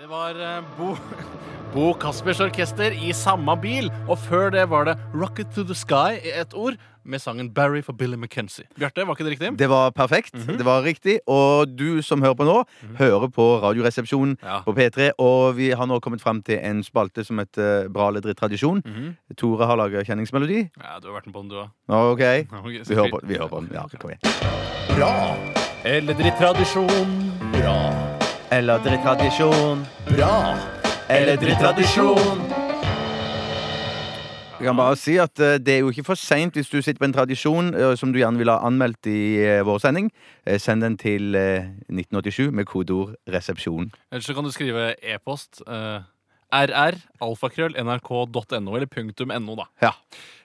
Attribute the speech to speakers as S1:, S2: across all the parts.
S1: Det var eh, Bo, Bo Caspers orkester i samme bil, og før det var det Rocket to the Sky i ett ord, med sangen Barry for Billy McKenzie. Bjarte, var ikke det riktig?
S2: Det var perfekt. Det var riktig. Og du som hører på nå, hører på Radioresepsjonen
S1: Ja.
S2: på P3. Og vi har nå kommet fram til en spalte som heter Bra eller dritt tradisjon.
S1: Mhm.
S2: Tore har laga kjenningsmelodi.
S1: Ja, du har vært med på den, du òg.
S2: Ok,
S1: ok, så
S2: vi
S1: fint.
S2: hører på, vi hører på den. Ja, kom igjen.
S3: Bra,
S1: Eller drittradisjon.
S3: bra,
S2: Eller dritt tradisjon.
S3: bra.
S2: Eller dritt tradisjon. Jeg kan bare si at eh, Det er jo ikke for seint hvis du sitter på en tradisjon eh, som du gjerne ville ha anmeldt i eh, vår sending. Eh, Send den til eh, 1987 med kodeord 'resepsjon'.
S1: Eller så kan du skrive e-post. eh, RR, alfakrøll, nrk.no eller punktum .no, da.
S2: Ja.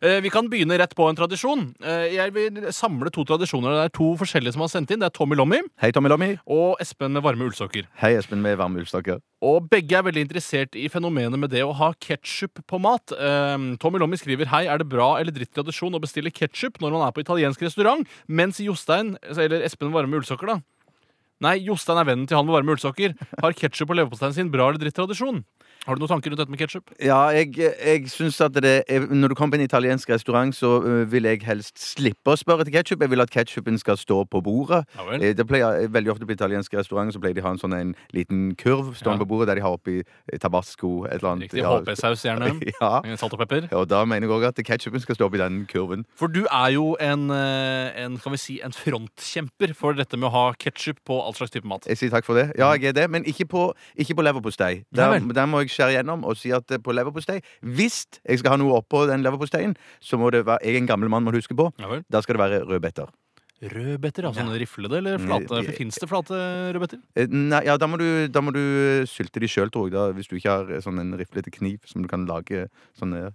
S1: Eh, vi kan begynne rett på en tradisjon. Eh, jeg vil samle to tradisjoner. Det er to forskjellige som har sendt inn. Det er Tommy Lommy
S2: Hei, Tommy Lommy.
S1: og Espen med varme ullsokker.
S2: Hei, Espen med varme ullstokker.
S1: Og begge er veldig interessert i fenomenet med det å ha ketsjup på mat. Ehm, Tommy Lommy skriver hei, er det bra eller dritt tradisjon å bestille ketsjup når man er på italiensk restaurant, mens Jostein, eller Espen Varme Ullsokker, da Nei, Jostein er vennen til han med varme ullsokker. Har ketsjup og leverposteien sin bra eller dritt tradisjon? Har du noen tanker rundt dette med ketsjup?
S2: Ja, jeg, jeg syns at det er Når du kommer på en italiensk restaurant, så øh, vil jeg helst slippe å spørre etter ketsjup. Jeg vil at ketsjupen skal stå på bordet.
S1: Ja vel.
S2: Eh, Det pleier, veldig ofte på italienske restauranter så pleier de å ha en sånn en liten kurv
S1: Ja.
S2: stående på bordet der de har oppi eh, tabasco et eller annet.
S1: Riktig. HP-saus, gjerne.
S2: Ja.
S1: Salt og pepper.
S2: Og da mener jeg òg at ketsjupen skal stå oppi den kurven.
S1: For du er jo en, eh, en kan vi si, en frontkjemper for dette med å ha ketsjup på all slags type mat.
S2: Jeg sier takk for det. Ja, jeg er det, men ikke på, ikke på leverpostei. Der,
S1: Nei vel.
S2: der må jeg skjære gjennom og si at eh, på leverpostei Hvis jeg skal ha noe oppå den leverposteien, så må det være Jeg er en gammel mann, må du huske på.
S1: Ja vel.
S2: Da skal det være rødbeter.
S1: Rødbeter, ja. Sånne riflede eller flate?
S2: Nei,
S1: Fins det flate rødbeter?
S2: Eh, Nei, ja, da må du, da må du sylte de sjøl, tror jeg. Da, hvis du ikke har eh, sånn en riflete kniv som du kan lage sånne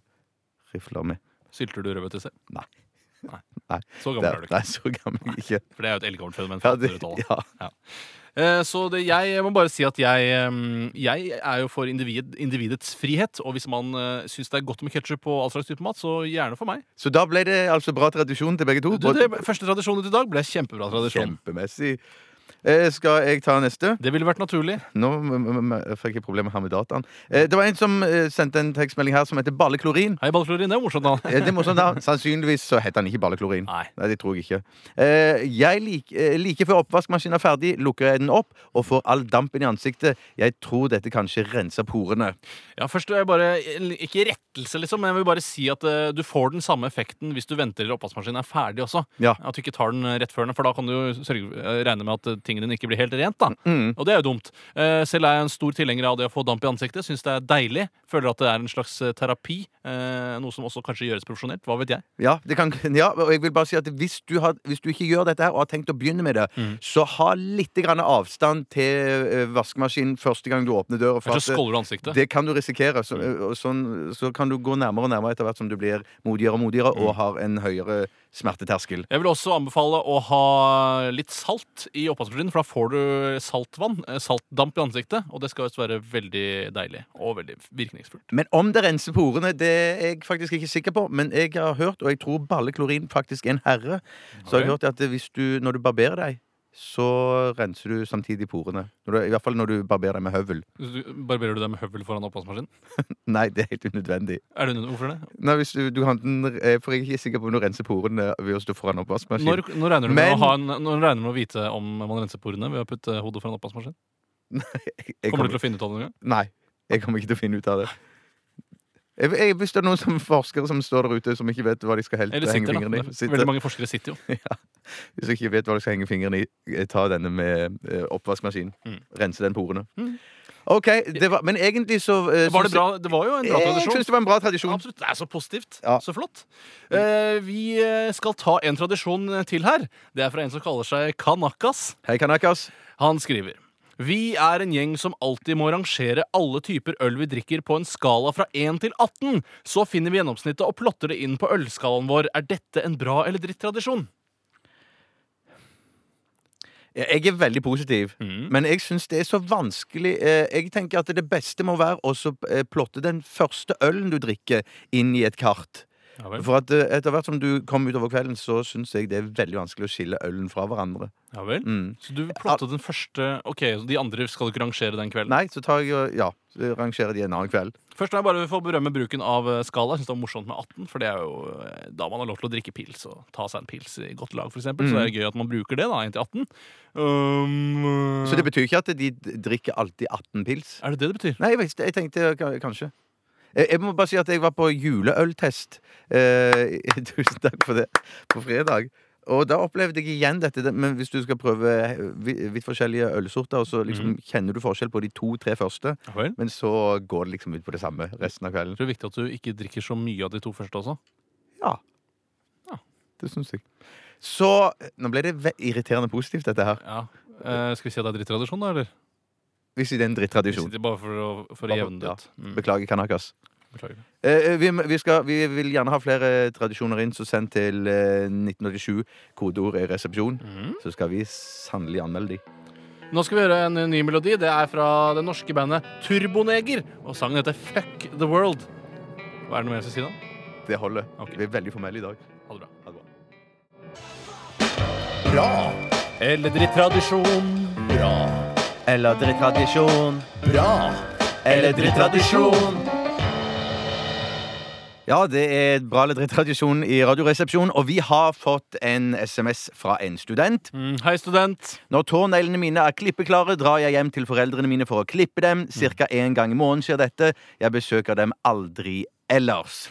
S2: rifler med.
S1: Sylter du rødbeter selv?
S2: Nei.
S1: Nei.
S2: Nei.
S1: Så gammel
S2: Der,
S1: er du ikke.
S2: nei, så gammel er jeg ikke.
S1: For det er jo et eldgammelt fenomen.
S2: Ja,
S1: fra
S2: det,
S1: 1800-tallet.
S2: ja.
S1: Eh, Så det, jeg må bare si at jeg, eh, jeg er jo for individ, individets frihet. Og hvis man uh, syns det er godt med ketsjup og all slags type mat, så gjerne for meg.
S2: Så da ble det altså bra tradisjon til begge to.
S1: Du, det, første tradisjonen til i dag ble kjempebra tradisjon.
S2: Kjempemessig. Eh, skal jeg ta neste?
S1: Det ville vært naturlig.
S2: Nå m- m- m- fikk jeg problemer her med dataen. Eh, det var en som eh, sendte en tekstmelding her som heter balleklorin.
S1: Hei, balleklorin. Det er morsomt, da.
S2: Eh, det er morsomt da. Sannsynligvis så heter han ikke balleklorin.
S1: Nei.
S2: Nei, det tror jeg ikke. Eh, jeg lik, eh, like før oppvaskmaskinen er ferdig, lukker jeg den opp og får all dampen i ansiktet. Jeg tror dette kanskje renser porene.
S1: Ja, først vil jeg bare, Ikke rettelse, liksom, men jeg vil bare si at eh, du får den samme effekten hvis du venter til oppvaskmaskinen er ferdig også.
S2: Ja.
S1: At du ikke tar den eh, rett før den, for da kan du jo sørge, eh, regne med at eh, tingene dine ikke blir helt rent. da.
S2: Mm,
S1: Og det er jo dumt. Eh, Selv er jeg en stor tilhenger av det å få damp i ansiktet. Syns det er deilig. Føler at det er en slags eh, terapi. eh, Noe som også kanskje gjøres profesjonelt. Hva vet jeg.
S2: Ja, det kan, ja, og jeg vil bare si at hvis du, har, hvis du ikke gjør dette her og har tenkt å begynne med det, så ha litt grann avstand til eh, vaskemaskinen første gang du åpner døra. for
S1: Kanskje
S2: at- eh,
S1: skåler du ansiktet.
S2: Det kan du risikere. Så,
S1: Mm.
S2: og sånn, så kan du gå nærmere og nærmere etter hvert som du blir modigere og modigere
S1: Mm.
S2: og har en høyere smerteterskel.
S1: Jeg vil også anbefale å ha litt salt i oppvaskmaskinen, for da får du saltvann, eh, saltdamp i ansiktet, og det skal visst være veldig deilig og veldig virkningsfullt.
S2: Men om det renser porene, det er jeg faktisk ikke sikker på. Men jeg har hørt, og jeg tror balleklorin faktisk er en herre, så har jeg
S1: Ok.
S2: hørt at hvis du, når du barberer deg, så renser du samtidig porene. Når du, I hvert fall når du barberer deg med høvel.
S1: Du- Barberer du deg med høvel foran oppvaskmaskinen?
S2: Nei, det er helt unødvendig.
S1: Er det, hvorfor det?
S2: Nei, hvis du, du kan den, eh, For jeg er ikke sikker på om du renser porene ved å stå foran
S1: Når,
S2: oppvaskmaskinen.
S1: når, regner du med
S2: Men-
S1: å ha en, når regner du med å vite om man renser porene ved å putte hodet foran oppvaskmaskinen?
S2: Jeg
S1: Kommer du til å finne ut av det en gang?
S2: Nei, jeg kommer ikke til å finne ut av det. Jeg, jeg, hvis det er noen som forskere som står der ute som ikke vet hva de skal helt
S1: Eller
S2: henge
S1: sitter,
S2: fingrene
S1: da.
S2: i
S1: Veldig
S2: sitter,
S1: mange forskere sitter jo.
S2: Hvis de ikke vet hva de skal henge fingrene i, eh, ta denne med eh, oppvaskmaskinen.
S1: Mm.
S2: Rense den porene.
S1: Mm.
S2: OK, det var, men egentlig så eh,
S1: Var det,
S2: syns
S1: bra, det var jo en bra
S2: jeg- Jeg
S1: tradisjon.
S2: syns det var en bra tradisjon.
S1: Absolutt. Det er så positivt.
S2: Ja.
S1: Så flott. Eh, vi eh, skal ta en tradisjon eh, til her. Det er fra en som kaller seg Kanakas.
S2: Hei, Kanakas.
S1: Han skriver vi er en gjeng som alltid må rangere alle typer øl vi drikker på en skala fra 1 til 18. Så finner vi gjennomsnittet og plotter det inn på ølskalaen vår. Er dette en bra eller dritt tradisjon?
S2: Jeg er veldig positiv,
S1: Mm.
S2: men jeg syns det er så vanskelig. Eh, Jeg tenker at det beste må være å så, eh, plotte den første ølen du drikker, inn i et kart.
S1: Ja vel.
S2: For at eh, etter hvert som du kom utover kvelden, så syns jeg det er veldig vanskelig å skille ølen fra hverandre.
S1: Ja vel.
S2: Mm.
S1: Så du vil plotte den første OK, så de andre skal du ikke rangere den kvelden.
S2: Nei, så tar jeg og ja, så rangerer de en annen kveld.
S1: Først må jeg bare få berømme bruken av eh, skala. Jeg synes det var morsomt med 18, for det er jo eh, da man har lov til å drikke pils og ta seg en pils i godt lag, f.eks. eksempel Så det er gøy at man bruker det da, inntil 18. Um,
S2: Så det betyr ikke at de d- drikker alltid 18 pils?
S1: er det det det betyr?
S2: Nei, jeg, vet ikke, jeg tenkte ka- kanskje. Jeg, jeg må bare si at jeg var på juleøltest. Eh, tusen takk for det. På fredag. Og da opplevde jeg igjen dette, det- men hvis du skal prøve eh, vi- vidt forskjellige ølsorter, og så liksom kjenner du forskjell på de to-tre første,
S1: Ja vel.
S2: men så går det liksom ut på det samme resten av kvelden.
S1: Jeg tror det er viktig at du ikke drikker så mye av de to første også.
S2: Ja.
S1: Ja.
S2: Det syns jeg. Så Nå ble det ve irriterende positivt, dette her.
S1: Ja. Eh, skal vi si at det er drittradisjon, da? eller?
S2: Hvis det er en
S1: Vi
S2: drittradisjon.
S1: sitter bare for å, for å
S2: Bare for-
S1: jevne det ut. Mm,
S2: Beklager, Kanakas.
S1: beklager.
S2: Eh, vi, vi, skal, vi vil gjerne ha flere tradisjoner inn, så send til eh, 1987. Kodeord er resepsjon. Så skal vi sannelig anmelde de.
S1: Nå skal vi høre en ny melodi. Det er fra det norske bandet Turboneger. Og sangen heter Fuck The World. Hva er det noe mer jeg skal si da?
S2: Det holder.
S1: Ok.
S2: Vi er veldig formelle i dag.
S1: Ha det bra.
S2: Ha det bra.
S3: bra,
S1: Eller drittradisjon.
S3: bra,
S2: Eller drittradisjon.
S3: bra.
S2: Eller drittradisjon. Ja, det er et bra eller drittradisjon i Radioresepsjonen, og vi har fått en SMS fra en student.
S1: Mm, hei, student.
S2: Når tåneglene mine er klippeklare, drar jeg hjem til foreldrene mine for å klippe dem. Cirka én gang i måneden skjer dette. Jeg besøker dem aldri ellers.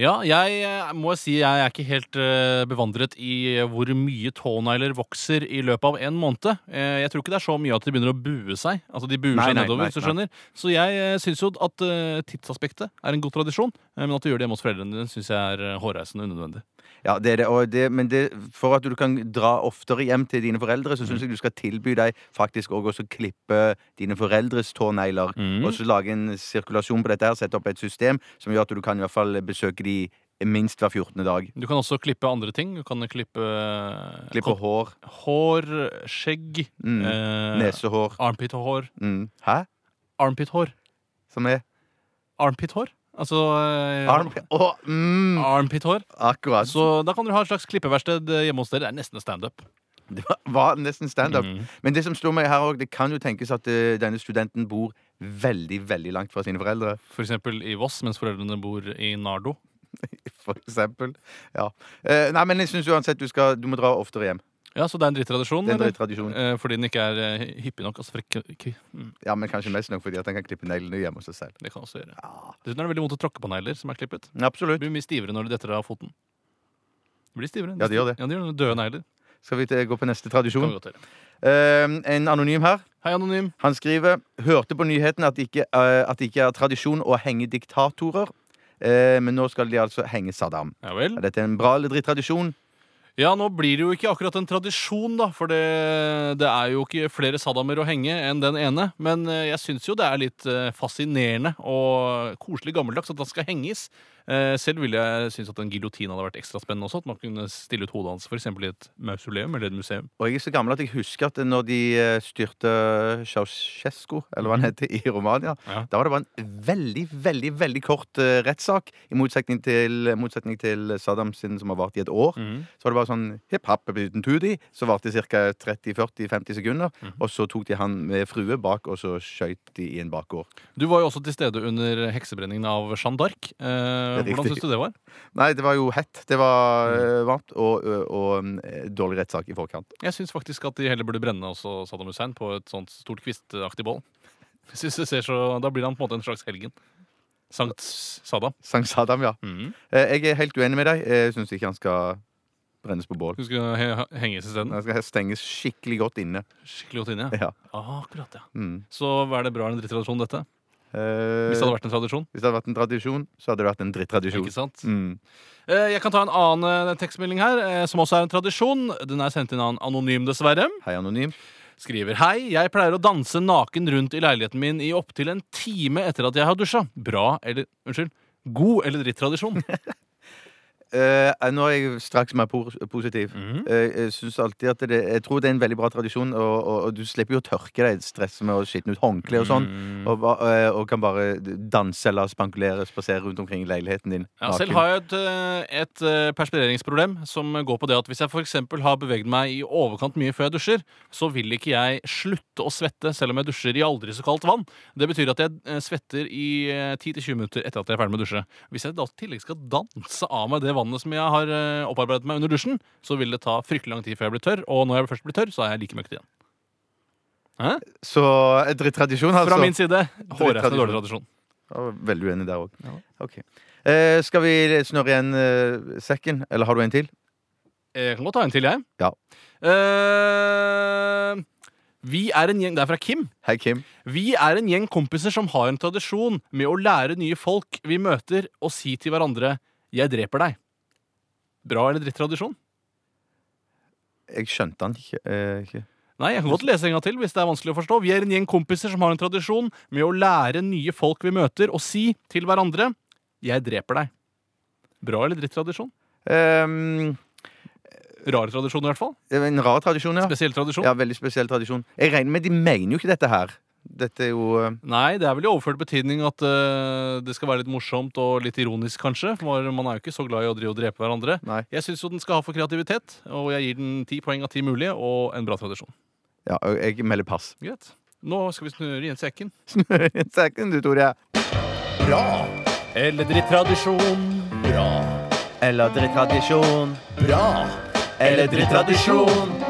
S1: Ja, jeg eh, må si jeg er ikke helt eh, bevandret i hvor mye tånegler vokser i løpet av en måned. Eh, jeg tror ikke det er så mye at de begynner å bue seg. Altså de buer
S2: Nei,
S1: seg
S2: nei,
S1: nedover,
S2: nei,
S1: hvis du
S2: nei.
S1: skjønner. Så jeg eh, syns jo at eh, tidsaspektet er en god tradisjon, eh, men at du gjør det hjemme hos foreldrene dine, syns jeg er eh, hårreisende unødvendig.
S2: Ja, det er det, og det, men det, for at du kan dra oftere hjem til dine foreldre, så syns jeg du skal tilby deg faktisk òg å klippe dine foreldres tånegler.
S1: Mm.
S2: Og så lage en sirkulasjon på dette her, sette opp et system som gjør at du kan i hvert fall besøke de minst hver 14. dag.
S1: Du kan også klippe andre ting. Du kan klippe, eh,
S2: Klippe hår.
S1: hår, skjegg,
S2: Mm.
S1: eh,
S2: Nesehår.
S1: armpithår.
S2: Mm. Hæ?
S1: Armpithår.
S2: Som er
S1: Armpithår. Altså eh,
S2: arm... Å, mm,
S1: Armpithår.
S2: akkurat.
S1: Så da kan dere ha et slags klippeverksted eh, hjemme hos dere. Det er nesten standup. Mm.
S2: Det var- var nesten standup.
S1: Mhm.
S2: Men det som slo meg her òg, det kan jo tenkes at eh, denne studenten bor veldig, veldig langt fra sine foreldre.
S1: For eksempel i Voss, mens foreldrene bor i Nardo.
S2: For eksempel. Ja. Eh, nei, men jeg syns uansett du, skal, du må dra oftere hjem.
S1: Ja, Så det er en drittradisjon?
S2: Det er en
S1: eller?
S2: drittradisjon.
S1: Eh, Fordi den ikke er eh, hyppig nok. Altså, for ikke, ikke, mm,
S2: Ja, men kanskje mest nok fordi at han kan klippe neglene hjemme hos seg selv.
S1: det kan også gjøre. Dessuten er det veldig vondt å tråkke på negler som er klippet. Det
S2: Absolutt.
S1: blir mye stivere når de detter av foten. Det blir stivere.
S2: Ja, det gjør det.
S1: Ja, de gjør det. Døde negler.
S2: Skal vi til- gå på neste
S1: Kan vi
S2: tradisjon?
S1: godt gjøre.
S2: Eh, en anonym her.
S1: Hei, Anonym.
S2: Han skriver Hørte på nyheten at det ikke, eh, at det ikke er tradisjon å henge diktatorer. Eh, men nå skal de altså henge Saddam.
S1: Ja vel.
S2: Er dette en bra eller drittradisjon?
S1: Ja, nå blir det jo ikke akkurat en tradisjon, da, for det, det er jo ikke flere Saddamer å henge enn den ene. Men eh, jeg syns jo det er litt eh, fascinerende og koselig gammeldags at han skal henges. Eh, Selv ville jeg synes at en giljotin hadde vært ekstra spennende også, at man kunne stille ut hodet hans for eksempel i et mausoleum eller et museum.
S2: Og jeg er så gammel at jeg husker at når de eh, styrte Ceaucescu, eller hva han heter, i Romania,
S1: Ja.
S2: da var det bare en veldig, veldig veldig kort eh, rettssak. I motsetning til, motsetning til Saddam sin, som har vart i et år.
S1: Mm.
S2: Så var det bare sånn hipp happ uten tudi, så varte det ca. 30-40-50 sekunder. Og så tok de han med frue bak, og så skøyt de i en bakgård.
S1: Du var jo også til stede under heksebrenningen av Jeanne d'Arc. Eh,
S2: Det er
S1: Hvordan syns
S2: riktig.
S1: du det var?
S2: Nei, det var jo hett. Det var eh, varmt, og, og, og eh, dårlig rettssak i forkant.
S1: Jeg syns faktisk at de heller burde brenne også Saddam Hussein på et sånt stort kvistaktig bål. Jeg synes det ser så, Da blir han på en måte en slags helgen. Sankt Saddam.
S2: Sankt Saddam, ja.
S1: Mm.
S2: Eh, Jeg er helt uenig med deg. Jeg syns ikke han skal brennes på bål.
S1: Du skulle he- henges isteden?
S2: Han skal stenges skikkelig godt inne.
S1: Skikkelig godt inn, ja.
S2: Ja.
S1: Ah, akkurat, ja.
S2: Mm.
S1: Så hva er det bra eller en drittradisjon, dette?
S2: Eh,
S1: Hvis det hadde vært en tradisjon?
S2: hvis det hadde vært en tradisjon, så hadde det vært en drittradisjon.
S1: Ikke sant?
S2: Mm.
S1: Eh, Jeg kan ta en annen eh, tekstmelding her, eh, som også er en tradisjon. Den er sendt inn av en anonym, dessverre.
S2: Hei, Anonym.
S1: Skriver Hei, jeg pleier å danse naken rundt i leiligheten min i opptil en time etter at jeg har dusja. Bra eller Unnskyld. God eller drittradisjon?
S2: Eh, nå er jeg straks mer por- positiv.
S1: Mhm.
S2: Eh, jeg synes alltid at det, jeg tror det er en veldig bra tradisjon, og, og, og du slipper jo å tørke deg, stresse med å skitne ut håndkle og sånn,
S1: Mhm.
S2: og, ba- eh, og kan bare danse eller spankulere, spasere rundt omkring i leiligheten din.
S1: Ja, selv
S2: naken.
S1: har jeg et, eh, et eh, perspireringsproblem som går på det at hvis jeg f.eks. har beveget meg i overkant mye før jeg dusjer, så vil ikke jeg slutte å svette selv om jeg dusjer i aldri så kaldt vann. Det betyr at jeg eh, svetter i eh, 10-20 minutter etter at jeg er ferdig med å dusje. Hvis jeg da i tillegg skal danse av meg det vannet som jeg har eh, opparbeidet meg under dusjen, så vil det ta fryktelig lang tid før jeg blir tørr, og når jeg først blir tørr, så er jeg like møkkete igjen. Hæ?
S2: Så eh, drittradisjon, altså.
S1: Fra min side hårreisende dårlig tradisjon.
S2: Jeg var veldig uenig der òg.
S1: Ja.
S2: skal vi snurre igjen eh, sekken, eller har du en til?
S1: Eh, Jeg kan godt ta en til, jeg.
S2: Ja.
S1: Eh, vi er en gjeng Det er fra Kim.
S2: Hei, Kim.
S1: Vi er en gjeng kompiser som har en tradisjon med å lære nye folk vi møter, og si til hverandre 'jeg dreper deg'. Bra eller drittradisjon?
S2: Jeg skjønte han ikke. eh, ikke.
S1: Nei, jeg kan godt lese en gang til hvis det er vanskelig å forstå. Vi er en gjeng kompiser som har en tradisjon med å lære nye folk vi møter, og si til hverandre 'jeg dreper deg'. Bra eller drittradisjon?
S2: Ehm,
S1: Rar tradisjon i hvert fall.
S2: det var en rar tradisjon, ja.
S1: Spesiell tradisjon.
S2: ja. Veldig spesiell tradisjon. Jeg regner med de mener jo ikke dette her. Dette er jo eh,
S1: Nei, det er vel i overført betydning at eh, det skal være litt morsomt og litt ironisk, kanskje. For man er jo ikke så glad i å drive og drepe hverandre.
S2: Nei.
S1: Jeg syns jo den skal ha for kreativitet, og jeg gir den ti poeng av ti mulige, og en bra tradisjon.
S2: Ja, jeg melder pass.
S1: Greit. Nå skal vi snurre igjen sekken.
S2: Sekken, du, Tore.
S3: bra,
S1: Eller drittradisjon.
S3: bra,
S2: Eller drittradisjon.
S3: bra.
S2: Eller drittradisjon.